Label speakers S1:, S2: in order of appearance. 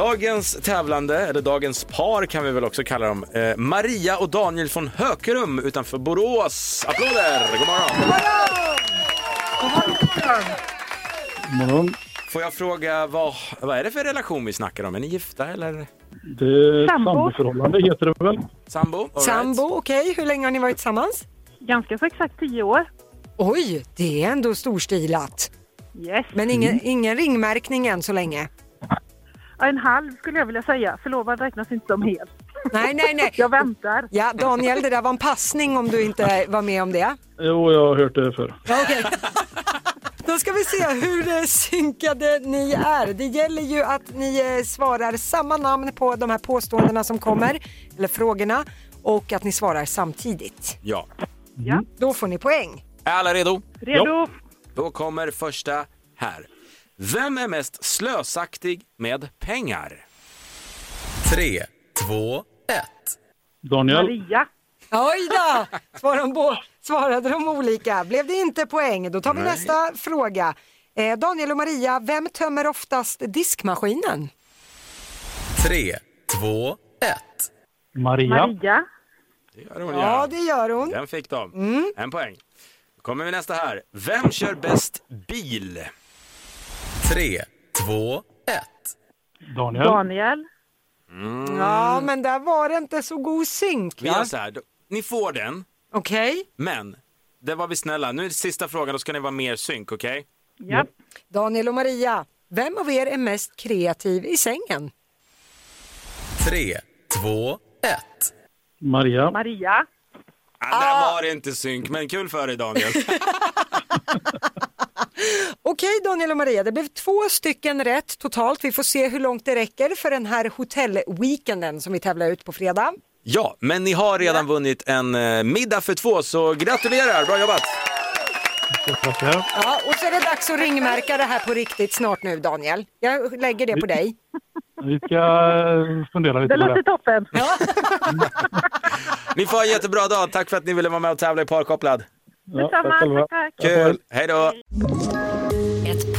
S1: Dagens tävlande, eller dagens par kan vi väl också kalla dem, eh, Maria och Daniel från Hökerum utanför Borås. Applåder! God morgon!
S2: morgon.
S1: Får jag fråga, vad, vad är det för relation vi snackar om? Är ni gifta eller
S2: Det
S3: Sambo.
S2: samboförhållande heter det väl?
S1: sambo? All right.
S4: Sambo, okej. Hur länge har ni varit tillsammans?
S3: Ganska så exakt tio år.
S4: Oj, det är ändå storstilat.
S3: Yes.
S4: Men ingen, ingen ringmärkning än så länge.
S3: Ja, En halv skulle jag vilja säga. Förlovad räknas inte som hel.
S4: Nej, nej, nej.
S3: Jag väntar.
S4: Ja, Daniel, det där var en passning om du inte var med om det.
S2: Jo, jag har hört det förr.
S4: Ja, Okej. Då ska vi se hur eh, synkade ni är. Det gäller ju att ni eh, svarar samma namn på de här påståendena som kommer, eller frågorna, och att ni svarar samtidigt.
S1: Ja.
S3: Ja.
S4: Då får ni poäng.
S1: Är alla redo?
S3: Redo?
S1: Då kommer första här. Vem är mest slösaktig med pengar?
S5: Tre, två, ett.
S2: Daniel,
S3: Maria.
S4: Oj då! Svarade de, bo- svarade de olika. Blev det inte poäng? Då tar vi nästa fråga. Eh, Daniel och Maria, vem tömmer oftast diskmaskinen?
S5: Tre, två, ett.
S2: Maria,
S3: Maria.
S1: Det gör hon
S4: Ja, det gör hon.
S1: Den fick de. En poäng. Då kommer vi nästa här. Vem kör bäst bil?
S5: Tre, två, ett.
S2: Daniel,
S3: Daniel.
S4: Ja, men där var det inte så god synk.
S1: Vi
S4: va?
S1: gör så här. då- Ni får den,
S4: Okej.
S1: men det var vi snälla. Nu är det sista frågan, då ska ni vara mer synk, okej?
S3: Ja.
S4: Daniel och Maria, vem av er är mest kreativ i sängen?
S5: Tre, två, ett.
S2: Maria,
S3: Maria.
S1: Ah, där var det inte synk, men kul för dig Daniel.
S4: Okej Daniel och Maria, det blev två stycken rätt totalt. Vi får se hur långt det räcker för den här hotellweekenden som vi tävlar ut på fredag.
S1: ja, men ni har redan vunnit en eh, middag för två, så gratulerar! Bra jobbat!
S2: tackar.
S4: Ja, och så är det dags att ringmärka det här på riktigt snart nu Daniel. Jag lägger det på dig.
S2: Vi ska eh, fundera
S3: Det
S2: lite på
S3: låter
S2: det.
S3: toppen.
S1: Ni får ha en jättebra dag. Tack för att ni ville vara med och tävla i Parkopplad.
S2: Ja,
S3: Detsamma.
S2: själva.
S3: Tack, tack.
S1: Kul! Hej då!
S6: Ett